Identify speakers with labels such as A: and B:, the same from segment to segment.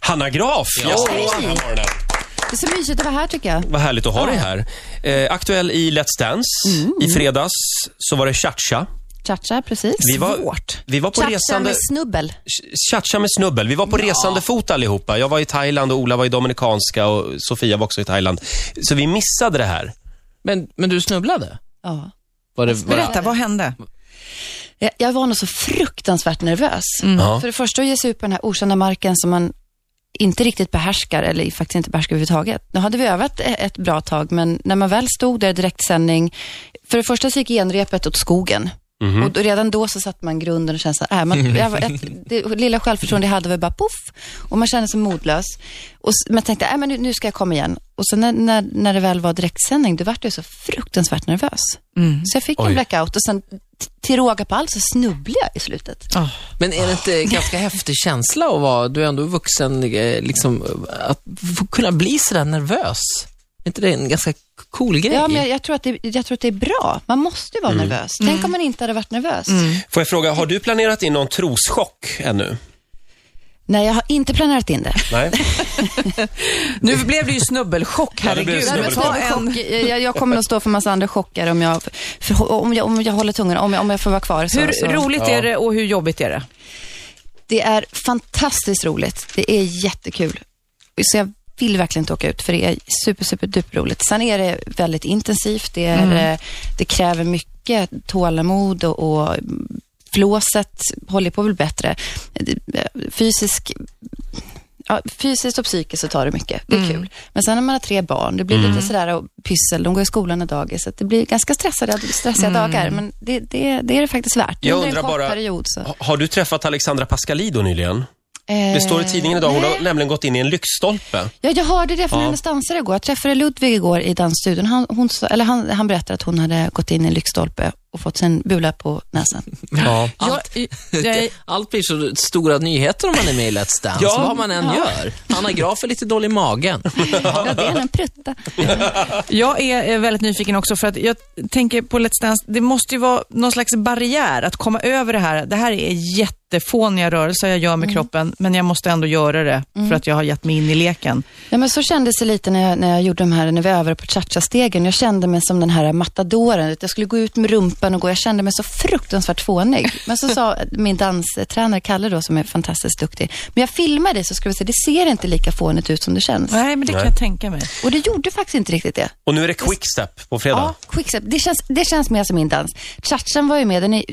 A: Hanna Graf, gäst den här morgonen.
B: Det är så mysigt att vara här tycker jag.
A: Vad härligt att ha dig här. Eh, aktuell i Let's Dance.
B: Mm.
A: I fredags så var det cha-cha.
B: Cha-cha, precis.
A: Vi var,
C: Svårt.
A: vi var på
B: Cha-cha
A: resande...
B: med snubbel.
A: Cha-cha med snubbel. Vi var på resande fot allihopa. Jag var i Thailand och Ola var i Dominikanska och Sofia var också i Thailand. Så vi missade det här.
D: Men, men du snubblade?
B: Ja.
D: Var det, var det,
C: Berätta, vad hände?
B: Jag, jag var nog så fruktansvärt nervös.
A: Ja.
B: För det första att ge sig ut på den här okända marken som man inte riktigt behärskar, eller faktiskt inte behärskar överhuvudtaget. Nu hade vi övat e- ett bra tag, men när man väl stod där i direktsändning, för det första så gick genrepet åt skogen. Och då, redan då så satte man grunden och kände så här, äh, man, jag, var- ett, det lilla självförtroende jag hade var bara poff. Och man kände sig modlös. Och s- man tänkte, äh, men nu, nu ska jag komma igen. Och sen när, när, när det väl var direktsändning, då vart jag så fruktansvärt nervös. Så jag fick
A: Oj.
B: en blackout och sen t- till råga på allt så snubblade jag i slutet.
D: men är det inte
B: Ah.
D: en ganska häftig känsla att vara, du är ändå vuxen, eh, liksom, att få kunna bli sådär nervös? Är inte det en ganska cool grej?
B: Ja, men jag, jag, tror att det, jag tror att det är bra. Man måste ju vara
C: Mm.
B: nervös. Tänk om man inte hade varit nervös.
A: Får jag fråga, har du planerat in någon troschock ännu?
B: Nej, jag har inte planerat in det.
A: Nej?
C: Nu blev det ju snubbelchock,
A: Ja, det blev
C: herregud.
A: snubbelchock.
C: Ta en...
B: Chock, jag, jag kommer att stå för massa andra chocker om jag, för, om jag, om jag håller tungan, om jag, om jag får vara kvar. Så, så.
C: Hur roligt är det och hur jobbigt är det?
B: Det är fantastiskt roligt. Det är jättekul. Så jag vill verkligen inte åka ut, för det är super, super duper roligt. Sen är det väldigt intensivt. Det,
A: Mm.
B: är, eh, det kräver mycket tålamod och, och flåset håller på att bli bättre. Det- Fysisk ja, fysiskt och psykiskt så tar det mycket.
A: Mm.
B: Det är kul. Men sen när man har tre barn, det blir lite sådär och pyssel. De går i skolan och dagis. Så att det blir ganska stressade, stressiga dagar. Men det, det, det är det faktiskt värt.
A: Mm. Jag
B: Under en
A: undrar
B: kort
A: bara-
B: period. Så.
A: Ha- Har du träffat Alexandra Pascalido nyligen? Det står
B: Eh,
A: i tidningen idag, hon har nämligen gått in i en lyktstolpe.
B: Ja, jag hörde det från
A: Ja.
B: hennes dansare igår. Jag träffade Ludvig igår i dansstudion. Han, hon, sa- eller han, han berättade att hon hade gått in i en lyktstolpe och fått sin bula på näsan.
A: Ja.
D: Allt, allt blir så stora nyheter om man är med i Let's Dance,
A: Ja.
D: vad man än gör. Hanna Graf är lite dålig i magen.
B: Ja, det är en prutta.
C: Jag är eh, väldigt nyfiken också för att jag tänker på Let's Dance, det måste ju vara någon slags barriär att komma över det här. Det här är jättefåniga rörelser jag gör med kroppen, men jag måste ändå göra det för att jag har gett mig in i leken.
B: Ja, men så kändes det lite när jag, när jag gjorde de här, när vi övade på cha-cha-stegen. Jag kände mig som den här matadoren. Jag skulle gå ut med rumpan och gå. Jag kände mig så fruktansvärt fånig. Men så sa min danstränare Kalle då, som är fantastiskt duktig. Men jag filmade det så skulle vi se, det ser inte lika fånigt ut som det känns.
C: Nej, men det kan
A: Nej.
C: jag tänka mig.
B: Och det gjorde faktiskt inte riktigt det.
A: Och nu är det quickstep på fredag.
B: Ja, quickstep. Det känns, det känns mer som min dans. Chatchen var ju med, den är,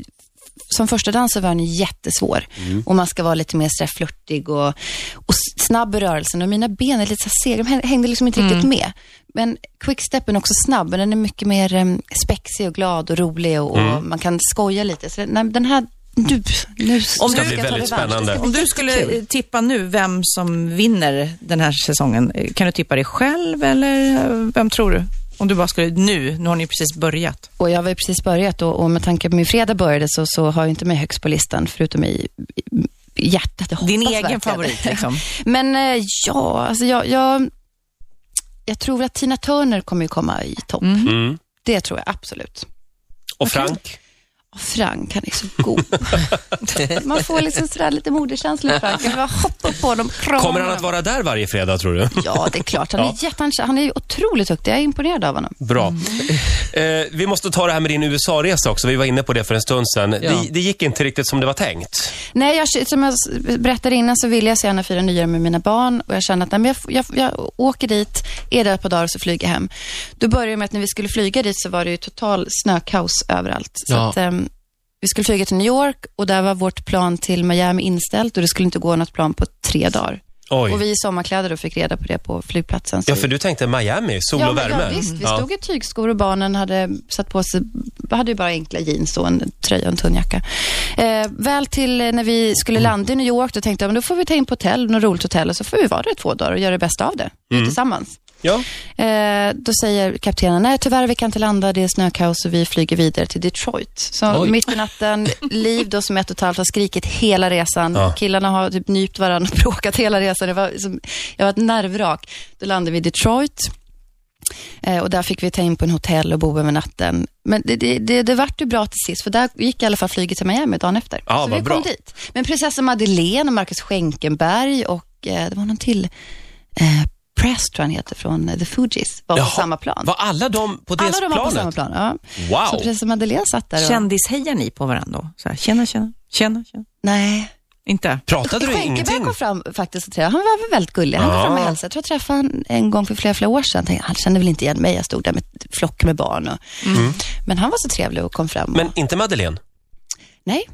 B: som första dans så var den jättesvår.
C: Mm.
B: Och man ska vara lite mer sådär flörtig och, och s- snabb i rörelsen. Och mina ben är lite så sega, de häng- hängde liksom inte riktigt
C: Mm.
B: med. Men quickstepen är också snabb, men den är mycket mer um, spexig och glad och rolig och, och
C: Mm.
B: man kan skoja lite. Så den, nej, den här, nu, nu ska
A: Det ska
B: jag
A: bli
B: ta
A: väldigt
B: revansch.
A: spännande.
C: Om du skulle eh, tippa nu vem som vinner den här säsongen, eh, kan du tippa dig själv eller eh, vem tror du? Om du bara skulle, nu, nu har ni precis börjat.
B: Och jag har ju precis börjat och, och med tanke på min fredag började så, så har jag inte mig högst på listan, förutom i, i i hjärtat. Jag
C: Din
B: hoppas
C: egen
B: verkligen.
C: favorit liksom.
B: Men eh, ja, alltså jag, jag, jag tror att Tina Turner kommer ju komma i topp.
A: Mm.
B: Det tror jag absolut.
A: Och Frank?
B: Och Frank, han är så god. Man får liksom sådär lite moderkänsla i Frank. Jag bara hoppar på honom, kramar
A: Kommer han att vara där varje fredag tror du?
B: Ja, det är klart. Han är,
A: Ja.
B: jätte, han är ju otroligt duktig. Jag är imponerad av honom.
A: Bra. Mm. Eh, vi måste ta det här med din USA-resa också. Vi var inne på det för en stund sedan. Det, det gick inte riktigt som det var tänkt.
B: Nej, jag, som jag s- berättade innan så ville jag så gärna fira nyår med mina barn och jag kände att nej, men jag, f- jag, f- jag åker dit, är där ett par dagar och så flyger jag hem. Då började det med att när vi skulle flyga dit så var det ju total snökaos överallt. Så
D: Ja.
B: att, ehm, vi skulle flyga till New York och där var vårt plan till Miami inställt och det skulle inte gå något plan på tre dagar. Och
A: Oj.
B: vi i sommarkläder då fick reda på det på flygplatsen. Så
A: Ja, för du tänkte Miami, sol
B: Ja,
A: och
B: men
A: värme.
B: Ja, visst. Vi
A: Ja.
B: stod i tygskor och barnen hade satt på sig, hade ju bara enkla jeans och en tröja och en tunn jacka. Eh, väl till eh, när vi skulle landa i New York, då tänkte jag, men då får vi ta in på hotell, något roligt hotell och så får vi vara där i två dagar och göra det bästa av det
A: Mm.
B: tillsammans.
A: Ja.
B: Eh, då säger kaptenen, nej tyvärr vi kan inte landa, det är snökaos och vi flyger vidare till Detroit. Så
D: Oj.
B: mitt i natten, Liv då som är ett och ett halvt har skrikit hela resan.
A: Ja.
B: Killarna har typ nypt varandra och bråkat hela resan. Det var, liksom, jag var ett nervrak. Då landade vi i Detroit. Eh, och där fick vi ta in på en hotell och bo över natten. Men det, det, det, det vart ju bra till sist, för där gick i alla fall flyget till Miami dagen efter.
A: Ja,
B: så
A: vad
B: vi
A: bra.
B: kom dit. Men prinsessa Madeleine och Marcus Schenkenberg och eh, det var någon till, eh, Press tror jag han heter, från eh, The Fugees, var på
A: Jaha,
B: samma plan.
A: Var alla de på det
B: Alla de var på samma
A: planet?
B: plan. Ja. Så
A: Wow!
B: prinsessa Madeleine satt där och...
C: Kändishejar ni på varandra? Så här, tjena, tjena, tjena, tjena.
B: Nej.
C: Inte?
A: Pratade du
B: Schenkenberg
A: ingenting?
B: kom fram faktiskt och träffade. Han var väldigt gullig. Han
A: Ja.
B: var fram och hälsade. Jag tror jag träffade honom en gång för flera, flera år sedan. Tänkte, Han kände väl inte igen mig. Jag stod där med flock med barn. Och... Men han var så trevlig och kom fram. Och...
A: Mm. Men inte Madeleine?
B: Nej.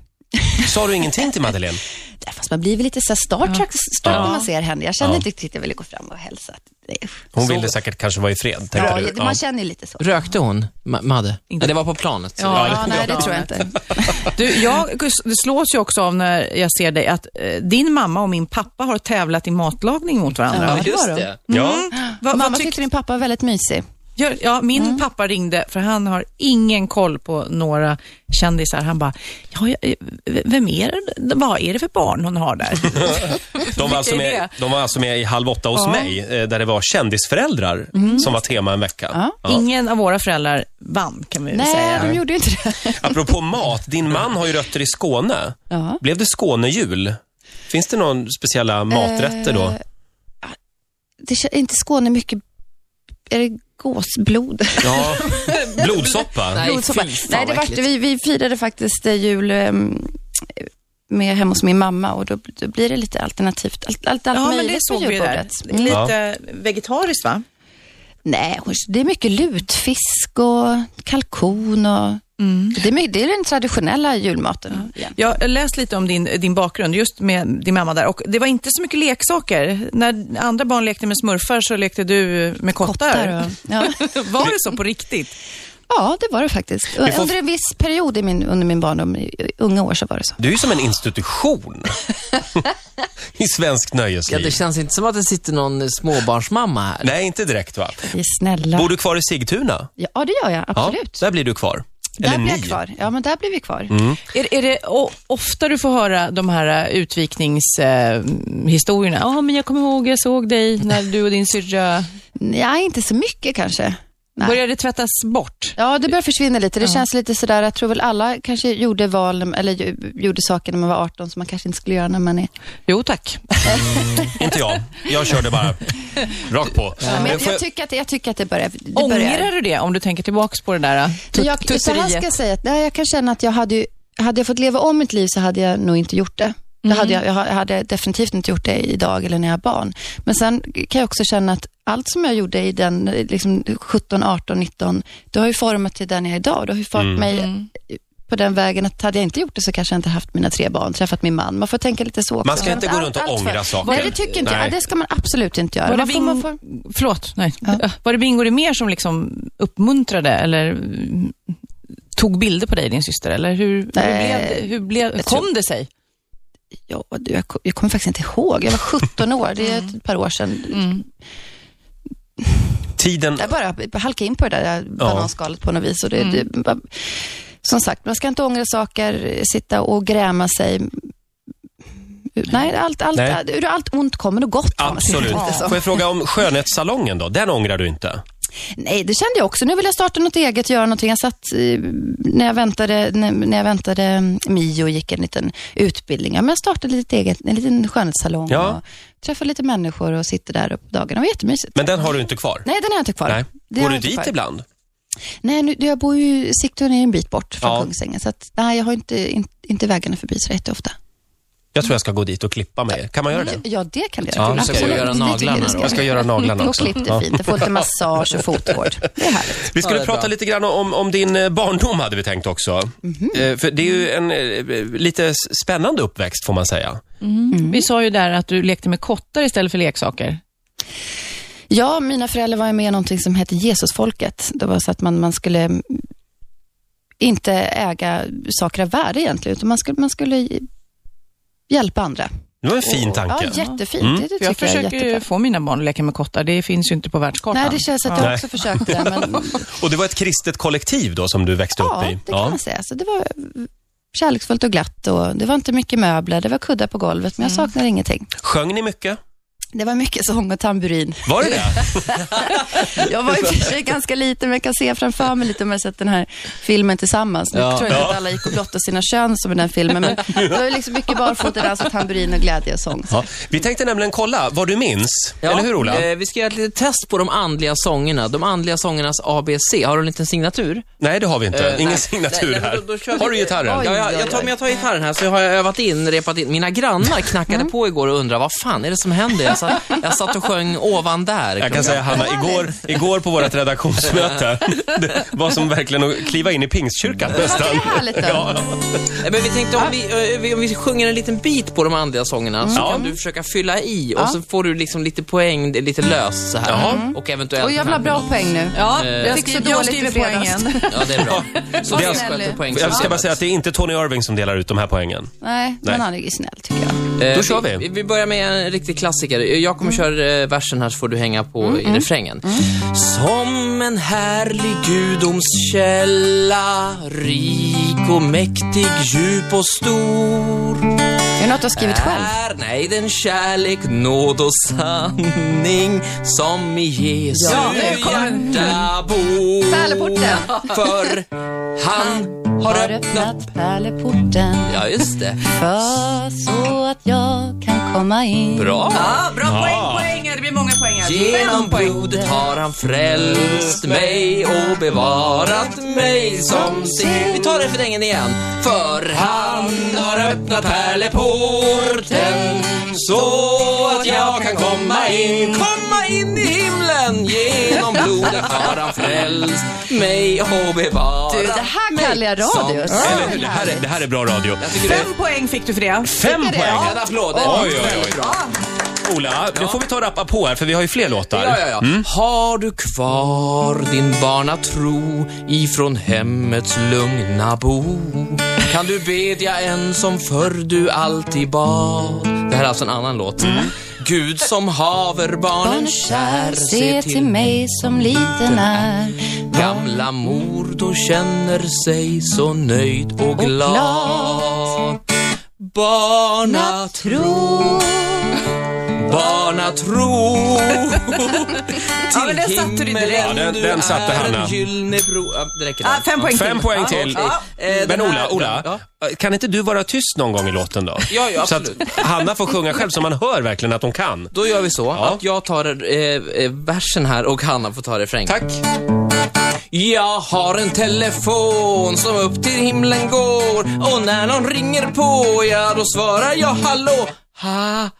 A: Sa du ingenting till Madeleine?
B: Där, Fast man blir väl lite så här Star Trek stört
A: Ja.
B: när man ser henne. Jag kände
A: Ja.
B: inte riktigt att jag ville gå fram och hälsa. Nej, usch.
A: Hon
D: Så-
A: ville säkert kanske vara i fred, tänkte
B: Ja,
A: du?
B: det- man känner ju lite så.
D: Rökte hon, Ma- Madde?
C: Inte.
D: Ja, det var på planet. så-
C: Ja,
B: Ja, nej, det tror jag inte.
C: Du, jag det slås ju också av när jag ser dig att eh, din mamma och min pappa har tävlat i matlagning mot varandra.
B: Ja,
D: Ja,
B: det
D: just
B: var de.
D: det.
B: Mm.
A: Ja.
C: Vad- vad
B: Mamma
C: tyck-
B: tyckte din pappa var väldigt mysig.
C: Ja, ja, min
B: Mm.
C: pappa ringde, för han har ingen koll på några kändisar. Han bara, ja, ja, v- vem är det? Vad är det för barn hon har där?
A: De, var alltså
C: Vilka är
A: med, de var alltså med i Halv åtta hos mig, eh, där det var kändisföräldrar
B: Mm.
A: som var tema en vecka.
C: Ingen av våra föräldrar vann, kan vi väl
B: Nej,
C: säga.
B: de gjorde ju inte det.
A: Apropå mat, din man har ju rötter i Skåne.
B: Ja.
A: Blev det Skånejul? Finns det någon speciella maträtter då?
B: Eh, Det är inte Skåne mycket... Är det gåsblod?
A: Ja, blodsoppa.
D: Nej,
B: Blodsoppa.
D: fy fan,
B: Nej, det
D: vad
B: var,
D: äckligt.
B: vi, vi firade faktiskt eh, jul ehm, med, hemma hos min mamma och då, då blir det lite alternativt. Allt, allt, allt
C: Ja, men det
B: möjligt på
C: såg vi där.
B: julbordet. Mm.
C: Lite vegetariskt, va?
B: Nej, det är mycket lutfisk och kalkon och...
C: Mm.
B: Det, är, my- det är den traditionella julmaten. igen.
C: Jag har läst lite om din, din bakgrund, just med din mamma där. Och det var inte så mycket leksaker. När andra barn lekte med smurfar så lekte du med kottar.
B: Kottar och- ja.
C: var det så på riktigt?
B: ja, det var det faktiskt.
A: får-
B: Under en viss period i min, under min barndom, i i unga år, så var det så.
A: Du är ju som en institution i svenskt
D: Ja,
A: nöjesliv.
D: det känns inte som att det sitter någon eh, småbarnsmamma här.
A: Nej, inte direkt va?
B: Vi är snälla.
A: Bor du kvar i Sigtuna?
B: Ja, det gör jag. Absolut.
A: där blir du kvar.
B: där
A: Eller
B: blir
A: ni.
B: jag kvar. Ja, men där blir vi kvar.
C: Är, är det o- ofta du får höra de här utvikningshistorierna? Ja, men jag kommer ihåg, jag såg dig när du och din syrra...
B: Nej, inte så mycket kanske. Nej.
C: Började det tvättas bort?
B: Ja, det börjar försvinna lite. Det känns lite sådär, jag tror väl alla kanske gjorde val, eller ju- gjorde saker när man var 18 som man kanske inte skulle göra när man är...
C: Jo, tack.
A: Inte jag. Jag körde bara rakt på. Eh,
B: Men jag,
A: får
B: jag, tycker att, jag tycker att det börjar... Det börjar.
C: Ångrar du det om du tänker tillbaka på det där eh,
B: Men jag, så här ska jag säga, att, nej, jag kan känna att jag hade, ju- hade jag fått leva om mitt liv så hade jag nog inte gjort det. Det hade jag, jag ha- hade definitivt inte gjort det idag eller när jag var barn. Men sen kan jag också känna att allt som jag gjorde i den eh, liksom 17, 18, 19, det har ju format till den jag är idag. Det har ju format
A: Mm.
B: mig på den vägen att hade jag inte gjort det så kanske jag inte haft mina tre barn, träffat min man. Man får tänka lite så också.
A: Man ska inte gå
B: Allt-
A: runt och
B: allt för-
A: ångra saker.
B: Nej, det tycker inte
A: Nej.
B: jag. Det ska man absolut inte göra.
C: Var det,
B: Man får, man
C: bing...
B: får...
C: Förlåt, nej. Eh, Var det Bingo det mer som liksom uppmuntrade eller mm, tog bilder på dig, din syster? Eller hur, hur
B: Nej.
C: blev det? Hur blev,
B: tror-
C: kom det sig?
B: Ja, du, jag, ko- jag kommer faktiskt inte ihåg. Jag var 17 år, det är ett par år sedan.
A: Tiden...
B: Jag bara halkade in på det där bananskalet på något vis. Och det,
A: Mm.
B: det, bara- som sagt, man ska inte ångra saker, sitta och gräma sig. Nej, allt, allt,
A: Nej.
B: Ur allt ont kommer något gott. om man säger
A: Absolut.
B: lite så.
A: Får jag fråga om skönhetssalongen då? Den ångrar du inte?
B: Nej, det kände jag också. Nu vill jag starta något eget, göra någonting. Jag satt eh, när jag väntade, när, när jag väntade mm, Mio och gick en liten utbildning. Ja, men jag startade lite eget, en liten skönhetssalong.
A: Ja.
B: Och träffade lite människor och sitter där på dagarna. Det var jättemysigt.
A: Men den har du inte kvar?
B: Nej, den har jag inte kvar. Det
A: Går
B: har
A: du
B: jag inte
A: dit
B: kvar.
A: ibland?
B: Nej, nu, jag bor ju, Sigtuna är ju en bit bort från
A: Ja.
B: Kungsängen, så att, nej, jag har inte, in, inte vägarna förbi så jätteofta.
A: Jag tror jag ska gå dit och klippa mig. Kan man göra det?
B: Ja, det kan du
A: Ja,
B: göra.
A: du ska
B: Absolut.
D: göra
B: Det tycker jag
D: naglarna
B: du ska
D: då.
A: Jag ska göra naglarna
B: Och
A: också.
B: klipp
A: Ja.
B: dig fint och få lite massage och fotvård. Det är härligt.
A: Vi skulle
D: Ja, det är
A: prata
D: bra.
A: lite grann om, om din eh, barndom hade vi tänkt också.
D: Mhm.
A: Eh, För det är ju en eh, lite s- spännande uppväxt får man säga.
C: Vi sa ju där att du lekte med kottar istället för leksaker.
B: Ja, mina föräldrar var ju med i någonting som hette Jesusfolket. Det var så att man, man skulle inte äga saker av värde egentligen, utan man skulle, man skulle hjälpa andra.
A: Det var en fin
B: Ja,
A: tanke.
B: jättefint.
A: Mm.
B: Det, det
C: För jag
B: tycker jag är
C: försöker ju
B: jättebra.
C: få mina barn att leka med kottar. Det finns ju inte på världskartan.
B: Nej, det känns att
A: Nej.
B: jag också försökte, men
A: Och det var ett kristet kollektiv då som du växte upp
B: Ja,
A: i?
B: det kan man säga. Så det var kärleksfullt och glatt och det var inte mycket möbler, det var kuddar på golvet, men jag saknar ingenting.
A: Sjöng ni mycket?
B: Det var mycket sång och tamburin.
A: Var det det?
B: Jag var i och för sig ganska liten, men jag kan se framför mig lite om jag har sett den här filmen tillsammans. Nu
D: Ja.
B: tror jag
A: Ja.
B: inte att alla gick och blottade sina kön som i den filmen, men det var ju liksom mycket barfotadans och tamburin och glädje och sång.
A: Ja. Vi tänkte nämligen kolla vad du minns.
D: Ja,
A: Eller hur, Ola?
D: Eh, vi ska göra ett litet test på de andliga sångerna. De andliga sångernas ABC. Har du en liten signatur?
A: Nej, det har vi inte.
D: Eh,
A: Ingen
D: nej.
A: signatur
D: Nej, nej, men
A: här.
D: då- då kör vi-
A: har du gitarren?
B: Oj.
D: Ja, jag, jag, tar, men jag tar gitarren här, så har jag övat in, repat in. Mina grannar knackade på igår och undrade vad fan är det som händer? Jag satt, jag satt och sjöng ovan där.
A: Jag kan säga Hanna, igår, igår på vårt redaktionsmöte, det var som verkligen att kliva in i pingstkyrkan nästan.
B: Det är härligt då.
A: Ja.
D: Eh, Men vi tänkte om vi, eh, vi, om vi sjunger en liten bit på de andliga sångerna så
A: Ja.
D: kan du försöka fylla i och så får du liksom lite poäng, det är lite löst så här. Och eventuellt...
B: Och jävla bra poäng nu.
C: Ja,
A: Eh,
C: jag,
B: fick så
C: skri- jag
B: dåligt i
C: skriver
B: fredags.
C: poängen.
D: Ja, det är bra. Så
B: Vad
D: det är
B: snäll
D: skönt
B: du.
D: med poäng.
A: alltså- Jag ska bara säga att det är inte Tony Irving som delar ut de här poängen.
B: Nej,
A: Nej.
B: men han är ju snäll tycker jag.
D: Eh,
A: Då kör vi.
D: Vi börjar med en riktig klassiker. Jag
B: Mm.
D: kommer köra eh, versen här så får du hänga på i refrängen. Som en härlig gudomskälla, rik och mäktig, djup och stor.
B: Är det något du har
D: Äh,
B: skrivit själv?
D: Är, nej, den kärlek, nåd och sanning som i Jesu
B: Ja, nu kommer-
D: hjärta bor.
B: Pärleporten.
D: För han har öppnat...
B: pärleporten
D: Ja, just det.
B: för så att jag kan komma in.
D: Bra.
C: Ja, bra poäng, poäng. Det blir många poäng här.
D: Genom blodet har han frälst mig och bevarat mig som sin. Vi tar refrängen igen. För han har öppnat pärleporten så att jag kan komma in. Komma in i himlen! Genom blodet har han frälst mig och bevarat
B: Du, det här kallar jag radio.
D: Som-
A: Eller hur? Det här är, det här är bra radio.
D: Ah, Jag tycker det
C: Fem poäng fick du för det.
A: Fem poäng!
D: är en applåd. Det
A: Oj,
D: är
A: oj, oj.
D: väldigt bra.
A: Ola, nu får vi ta och rappa på här för vi har ju fler låtar. Mm.
D: Ja, ja, ja. Har du kvar din barnatro ifrån hemmets lugna bo? Kan du bedja en som förr du alltid bad? Det här är alltså en annan låt.
A: Mm.
D: Gud som haver barnen
B: Barnet
D: kär,
B: kär, se till mig som liten är.
D: Gamla mor då känner sig så nöjd och glad. Barnatro,
B: Tro.
D: barnatro.
C: Ja, men den satte du direkt.
A: Ja, den- den satte Hanna.
D: en gyllene bro. Ja, det räcker
C: Ah,
D: där.
C: fem poäng
A: Fem
C: till.
A: poäng
C: Ja,
A: till.
C: okej.
D: Eh,
A: Men
D: den här-
A: Ola, Ola,
D: Ja.
A: kan inte du vara tyst någon gång i låten då?
D: Ja, ja,
A: så att
D: absolut.
A: Hanna får sjunga själv så man hör verkligen att hon kan.
D: Då gör vi så att jag tar eh, eh, versen här och Hanna får ta refrängen.
A: Tack.
D: Jag har en telefon som upp till himlen går och när någon ringer på, ja då svarar jag hallå. Ha,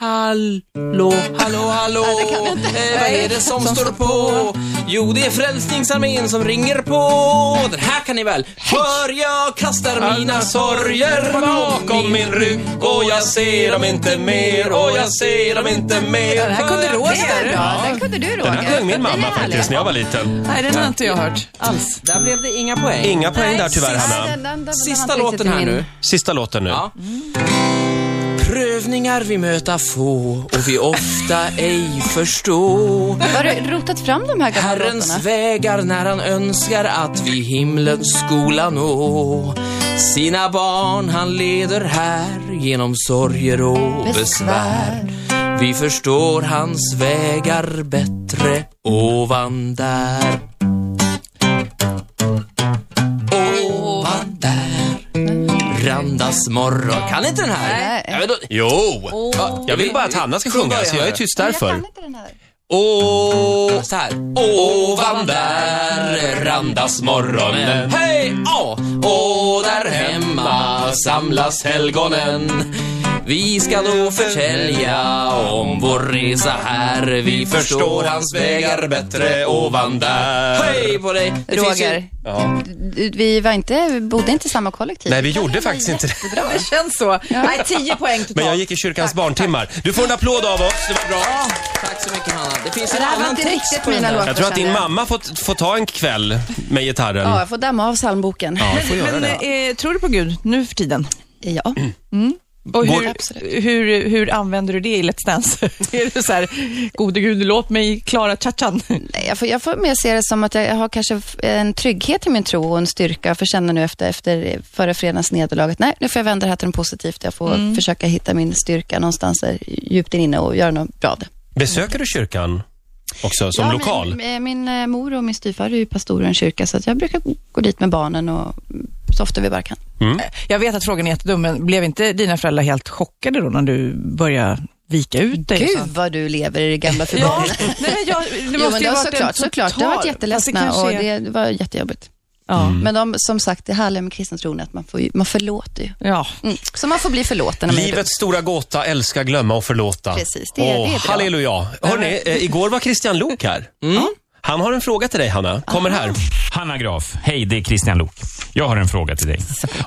D: hallå, hallå, hallå. eh, vad är det som, står på? Jo, det är Frälsningsarmén som ringer på. Den här kan ni väl? För jag kastar mina sorger bakom min rygg och jag ser dem inte mer och jag ser dem inte mer.
C: Den här kunde Roger.
B: Ja, den kunde du Roger.
A: Den här sjöng min
B: Den
A: mamma
B: är härlig.
A: faktiskt när jag var liten.
C: Nej, den har inte jag hört alls.
D: Där blev det inga poäng.
A: Inga poäng där tyvärr
B: Nej,
A: Hanna.
B: den- den- den- den var
D: Sista
B: inte riktigt
D: låten här
B: min.
D: nu.
A: Sista låten nu.
D: Ja. Prövningar vi möta få och vi ofta ej förstå.
B: Har du rotat fram de här gamla
D: Herrens
B: låtarna?
D: vägar när han önskar att vi himlens skola nå. Sina barn han leder här genom sorger och besvär. Vi förstår hans vägar bättre ovan där. Ovan där randas morgon. Kan inte den här?
B: Mm. Nej.
D: Ja, men då-
A: Jo!
D: Ja,
A: Jag vill bara att Hanna ska sjunga, så jag är tyst därför.
B: inte den här.
A: Åh,
D: Så här. Ovan där randas morgonen. Hej! Ja! Och där hemma samlas helgonen. Vi ska då förtälja om vår resa här. Vi förstår hans vägar bättre ovan där. Hej på dig! Det finns ju-
B: Roger,
A: Ja.
B: du- vi var inte, vi bodde inte i samma kollektiv.
A: Nej, vi gjorde faktiskt inte det.
C: Det känns så. Nej, tio poäng totalt.
A: Men jag gick i kyrkans barntimmar. Du får en applåd av oss, det var bra.
D: Tack så mycket Hanna. Det finns
B: Det
D: en
B: här var
D: annan
B: inte
D: text
B: riktigt
D: på den
B: mina
D: här.
B: låtar.
A: Jag tror att din
B: kände
A: mamma får, får ta en kväll med gitarren.
B: Ja, jag får damma av psalmboken.
A: Ja, du får göra
C: Men
A: det.
C: eh, tror du på Gud nu för tiden?
B: Ja.
C: Och hur,
B: Absolut.
C: hur, hur använder du det i Let's Dance? är det så här, gode gud, låt mig klara tjatjan?
B: Nej, Jag får, jag får mer se det som att jag har kanske f- en trygghet i min tro och en styrka. För känner nu efter, efter förra fredagens nederlag att nej, nu får jag vända det här till något positivt. Jag får
C: Mm.
B: försöka hitta min styrka någonstans där djupt inne och göra något bra av det.
A: Besöker du kyrkan också som
B: ja,
A: lokal?
B: Min, min eh, mor och min styvfar är ju pastorer i en kyrka, så att jag brukar gå dit med barnen och så ofta vi bara kan.
A: Mm.
C: Jag vet att frågan är jättedum, men blev inte dina föräldrar helt chockade då när du började vika ut dig? och
B: Gud
C: sånt?
B: vad du lever i det gamla
C: Ja,
B: förbundet.
C: nej, men jag, det
B: Jo, men
C: måste ju
B: det
C: ha
B: var
C: varit en
B: såklart, såklart. Det har
C: total-
B: varit jätteledsna
C: fast det
B: och
C: kanske är-
B: det var jättejobbigt.
C: Ja.
A: Mm.
B: Men de, som sagt, det härliga med kristen tron är att man, får, ju- man förlåter ju.
C: ja.
B: Mm. Så man får bli förlåten. om man är dum.
A: Livets stora gåta, älska, glömma och förlåta.
B: Precis, det
A: Åh,
B: är- det är bra. Mm.
A: halleluja. Hörrni, eh, igår var Christian Lok här. Han har en fråga till dig, Hanna. Kommer här.
E: Hanna Graf, hej, det är Christian Lok. Jag har en fråga till dig.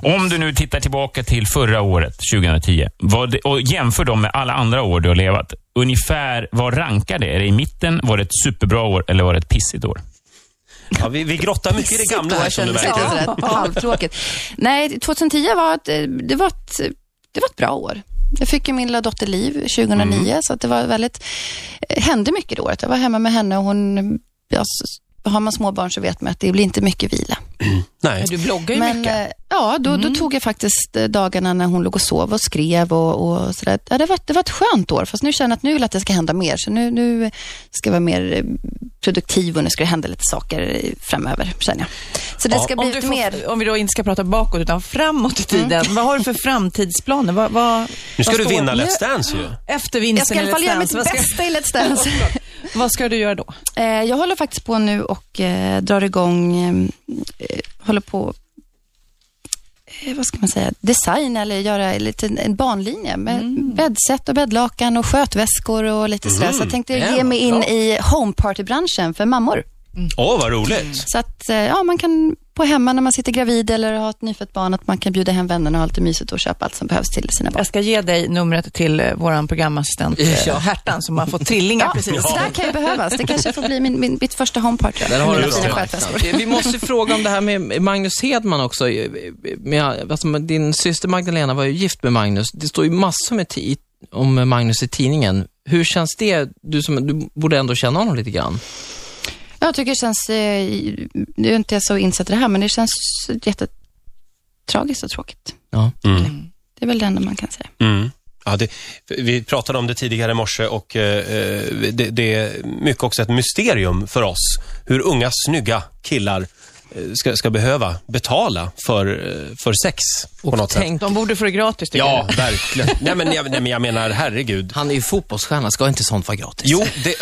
E: Om du nu tittar tillbaka till förra året, 2010, vad, och jämför dem med alla andra år du har levat. Ungefär, vad rankar det? Är det i mitten? Var det ett superbra år eller var det ett pissigt år?
A: Ja, vi, vi grottar mycket i det gamla här, som det
B: Sitt år
A: verkar.
B: kändes lite sådär halvtråkigt. Nej, 2010 var ett, det var ett, det var ett bra år. Jag fick ju min lilla dotter Liv 2009,
A: Mm.
B: så att det var väldigt, eh, hände mycket det året. Jag var hemma med henne och hon, ja, s- har man små barn så vet man att det blir inte mycket vila.
A: Nej.
C: Du bloggar ju
B: Men
C: mycket. Mm.
B: eh, ja, då, då tog jag faktiskt eh, dagarna när hon låg och sov och skrev och, och sådär. Ja, det, var, det var ett skönt år, fast nu känner jag att nu vill jag att det ska hända mer. Så nu, nu ska jag vara mer eh, produktiv och nu ska det hända lite saker eh, framöver, känner jag. Så det
A: Ja,
B: ska bli
C: Om, du
B: lite mer... Mm.
C: får, om vi då inte ska prata bakåt utan framåt i tiden, vad har du för framtidsplaner? Vad, vad,
A: Nu ska
C: vad
A: du
C: står-
A: vinna Let's Dance ju.
C: Efter
B: Jag
C: vinsten
B: ska i alla fall göra mitt
C: Let's Dance, vad ska,
B: bästa i Let's Dance.
C: vad ska du göra då?
B: Eh, jag håller faktiskt på nu och eh, drar igång, eh, eh, håller på, eh, vad ska man säga, design eller göra en liten en barnlinje med
A: Mm.
B: bäddsätt och bäddlakan och skötväskor och lite sådär. Så jag tänkte
A: Ja,
B: ge mig in
A: bra.
B: i homepartybranschen för mammor.
A: Åh, vad roligt.
B: Så att eh, ja, man kan på hemma när man sitter gravid eller har ett nyfött barn, att man kan bjuda hem vännerna och ha lite mysigt och köpa allt som behövs till sina barn.
C: Jag ska ge dig numret till eh, vår programassistent eh,
D: Ja.
C: Hertan som har fått trillingar precis.
B: Så där kan ju behövas. Det kanske får bli min, min, mitt första homeparty.
D: Där har
B: Mina
D: du
B: fina
D: det.
B: skötväskor.
D: Eh, Vi- Vi måste ju fråga om det här med Magnus Hedman också. Med, alltså, med din syster Magdalena var ju gift med Magnus. Det står ju massor med ti- om Magnus i tidningen. Hur känns det? Du, som, du borde ändå känna honom lite grann.
B: Jag tycker det känns, eh, nu är inte jag så insatt i det här, men det känns jättetragiskt och tråkigt.
D: Ja.
B: Det är väl det enda man kan säga.
A: Mm. Ja, det, vi pratade om det tidigare i morse och eh, eh, det, det är mycket också ett mysterium för oss hur unga, snygga killar eh, ska, ska behöva betala för, eh, för sex på något sätt.
D: Tänk,
C: De borde få det gratis tycker
A: Ja, verkligen. nej, men, jag, nej, men jag menar, herregud.
D: han är ju fotbollsstjärna, ska inte sånt vara gratis?
A: Jo, det,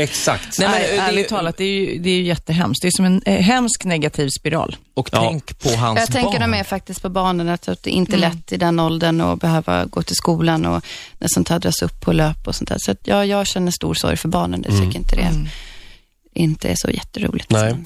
A: exakt.
C: jag.
D: Nej,
C: Nej,
D: men, det-
C: ärligt talat, det är, ju, det är ju jättehemskt. Det är som en eh, hemsk negativ spiral.
D: Och
A: Ja.
D: tänk på hans
B: Jag tänker
D: barn.
B: de är faktiskt på barnen, att att det inte är lätt i den åldern att behöva gå till skolan och när sånt här dras upp på löp och sånt där. Så att, ja, jag känner stor sorg för barnen, jag tycker inte det inte är så jätteroligt.
A: Nej.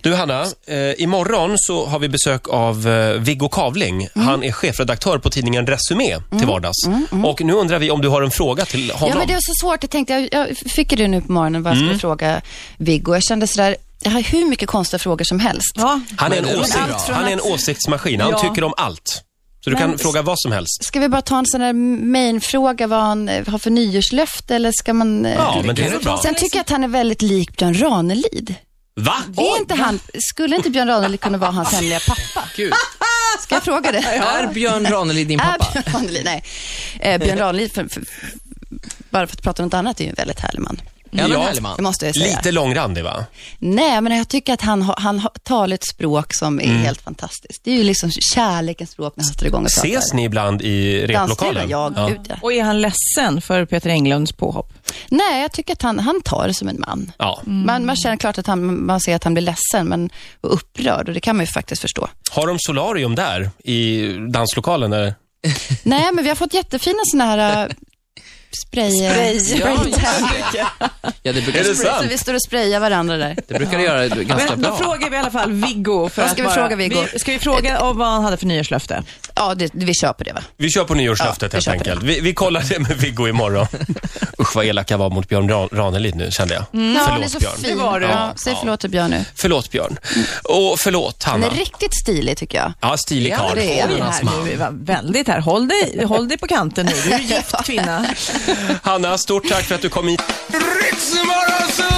A: Du Hanna, eh, imorgon så har vi besök av eh, Viggo Kavling. Han är chefredaktör på tidningen Resumé till vardags. Och nu undrar vi om du har en fråga till honom.
B: Ja, men det var så svårt. Jag tänkte, jag, jag fick ju det nu på morgonen vad jag skulle fråga Viggo. Jag kände sådär, jag har hur mycket konstiga frågor som helst.
C: Ja.
A: Han är, en
D: Men
A: åsikt,
C: allt från
A: han är en
C: att-
A: åsiktsmaskin. Han
C: Ja.
A: tycker om allt. Så du kan
B: Men-
A: fråga vad som helst.
B: Ska vi bara ta en sån där main-fråga vad han eh, har för nyårslöfte eller ska man... eh,
A: Ja, men det är väl bra.
B: Sen tycker jag att han är väldigt lik Björn Ranelid.
A: Va?
B: Är inte han, skulle inte Björn Ranelid kunna vara hans hemliga pappa?
D: Gud.
B: Ska jag fråga det?
D: Är Björn Ranelid din
B: Är
D: pappa?
B: Björn Ranelid, nej. Eh, Björn Ranelid, för, för, bara för att prata om något annat, är ju en väldigt härlig man.
D: Ja, men
A: Ja.
D: härlig man.
B: Det måste jag säga.
A: Lite långrandig va?
B: Nej, men jag tycker att han, har- han har- talar ett språk som
A: Mm.
B: är helt fantastiskt. Det är ju liksom kärlekens språk när han står igång och pratar.
A: Ses ni ibland i replokalen?
B: Danslokalen? Ja, gud ja.
C: Och är han ledsen för Peter Englunds påhopp?
B: Nej, jag tycker att han, han tar det som en man.
A: Ja.
B: Man, man känner klart att han, man ser att han blir ledsen men, och upprörd och det kan man ju faktiskt förstå.
A: Har de solarium där i danslokalen? Eller?
B: Nej, men vi har fått jättefina sådana här äh, spray,
F: Spray.
D: Ja, just
B: spraytan.
D: det. ja, det brukar,
A: Är det
B: Så
A: sant?
B: vi står och sprayar varandra där.
D: det brukar det göra ganska
C: Men då
D: bra.
C: frågar vi i alla fall Viggo. För
B: Vad
C: att
B: ska vi
C: bara,
B: fråga Viggo?
C: Vi, ska vi fråga om vad han hade för nyårslöfte?
B: Ja, det, vi kör på det va?
A: Vi kör på nyårslöftet
B: Ja, vi
A: helt
B: kör på
A: enkelt. Vi, vi kollar det med Viggo imorgon. Usch vad elak jag var mot Björn Ran- Ranelid nu kände jag.
B: Ja, han är
A: Förlåt
B: så
A: Björn.
B: fin.
C: Det var du.
B: Ja, säg förlåt till Björn nu.
A: Förlåt Björn. Och förlåt
B: Han är
A: Hanna.
B: riktigt stilig tycker jag.
A: Ja, stilig
D: Ja,
A: karl.
B: det är
C: Vi
B: vi
C: är här nu, va, väldigt här. Håll dig, håll dig på kanten nu. Du är ju gift kvinna.
A: Hanna, stort tack för att du kom hit.
D: Riksmorgon, så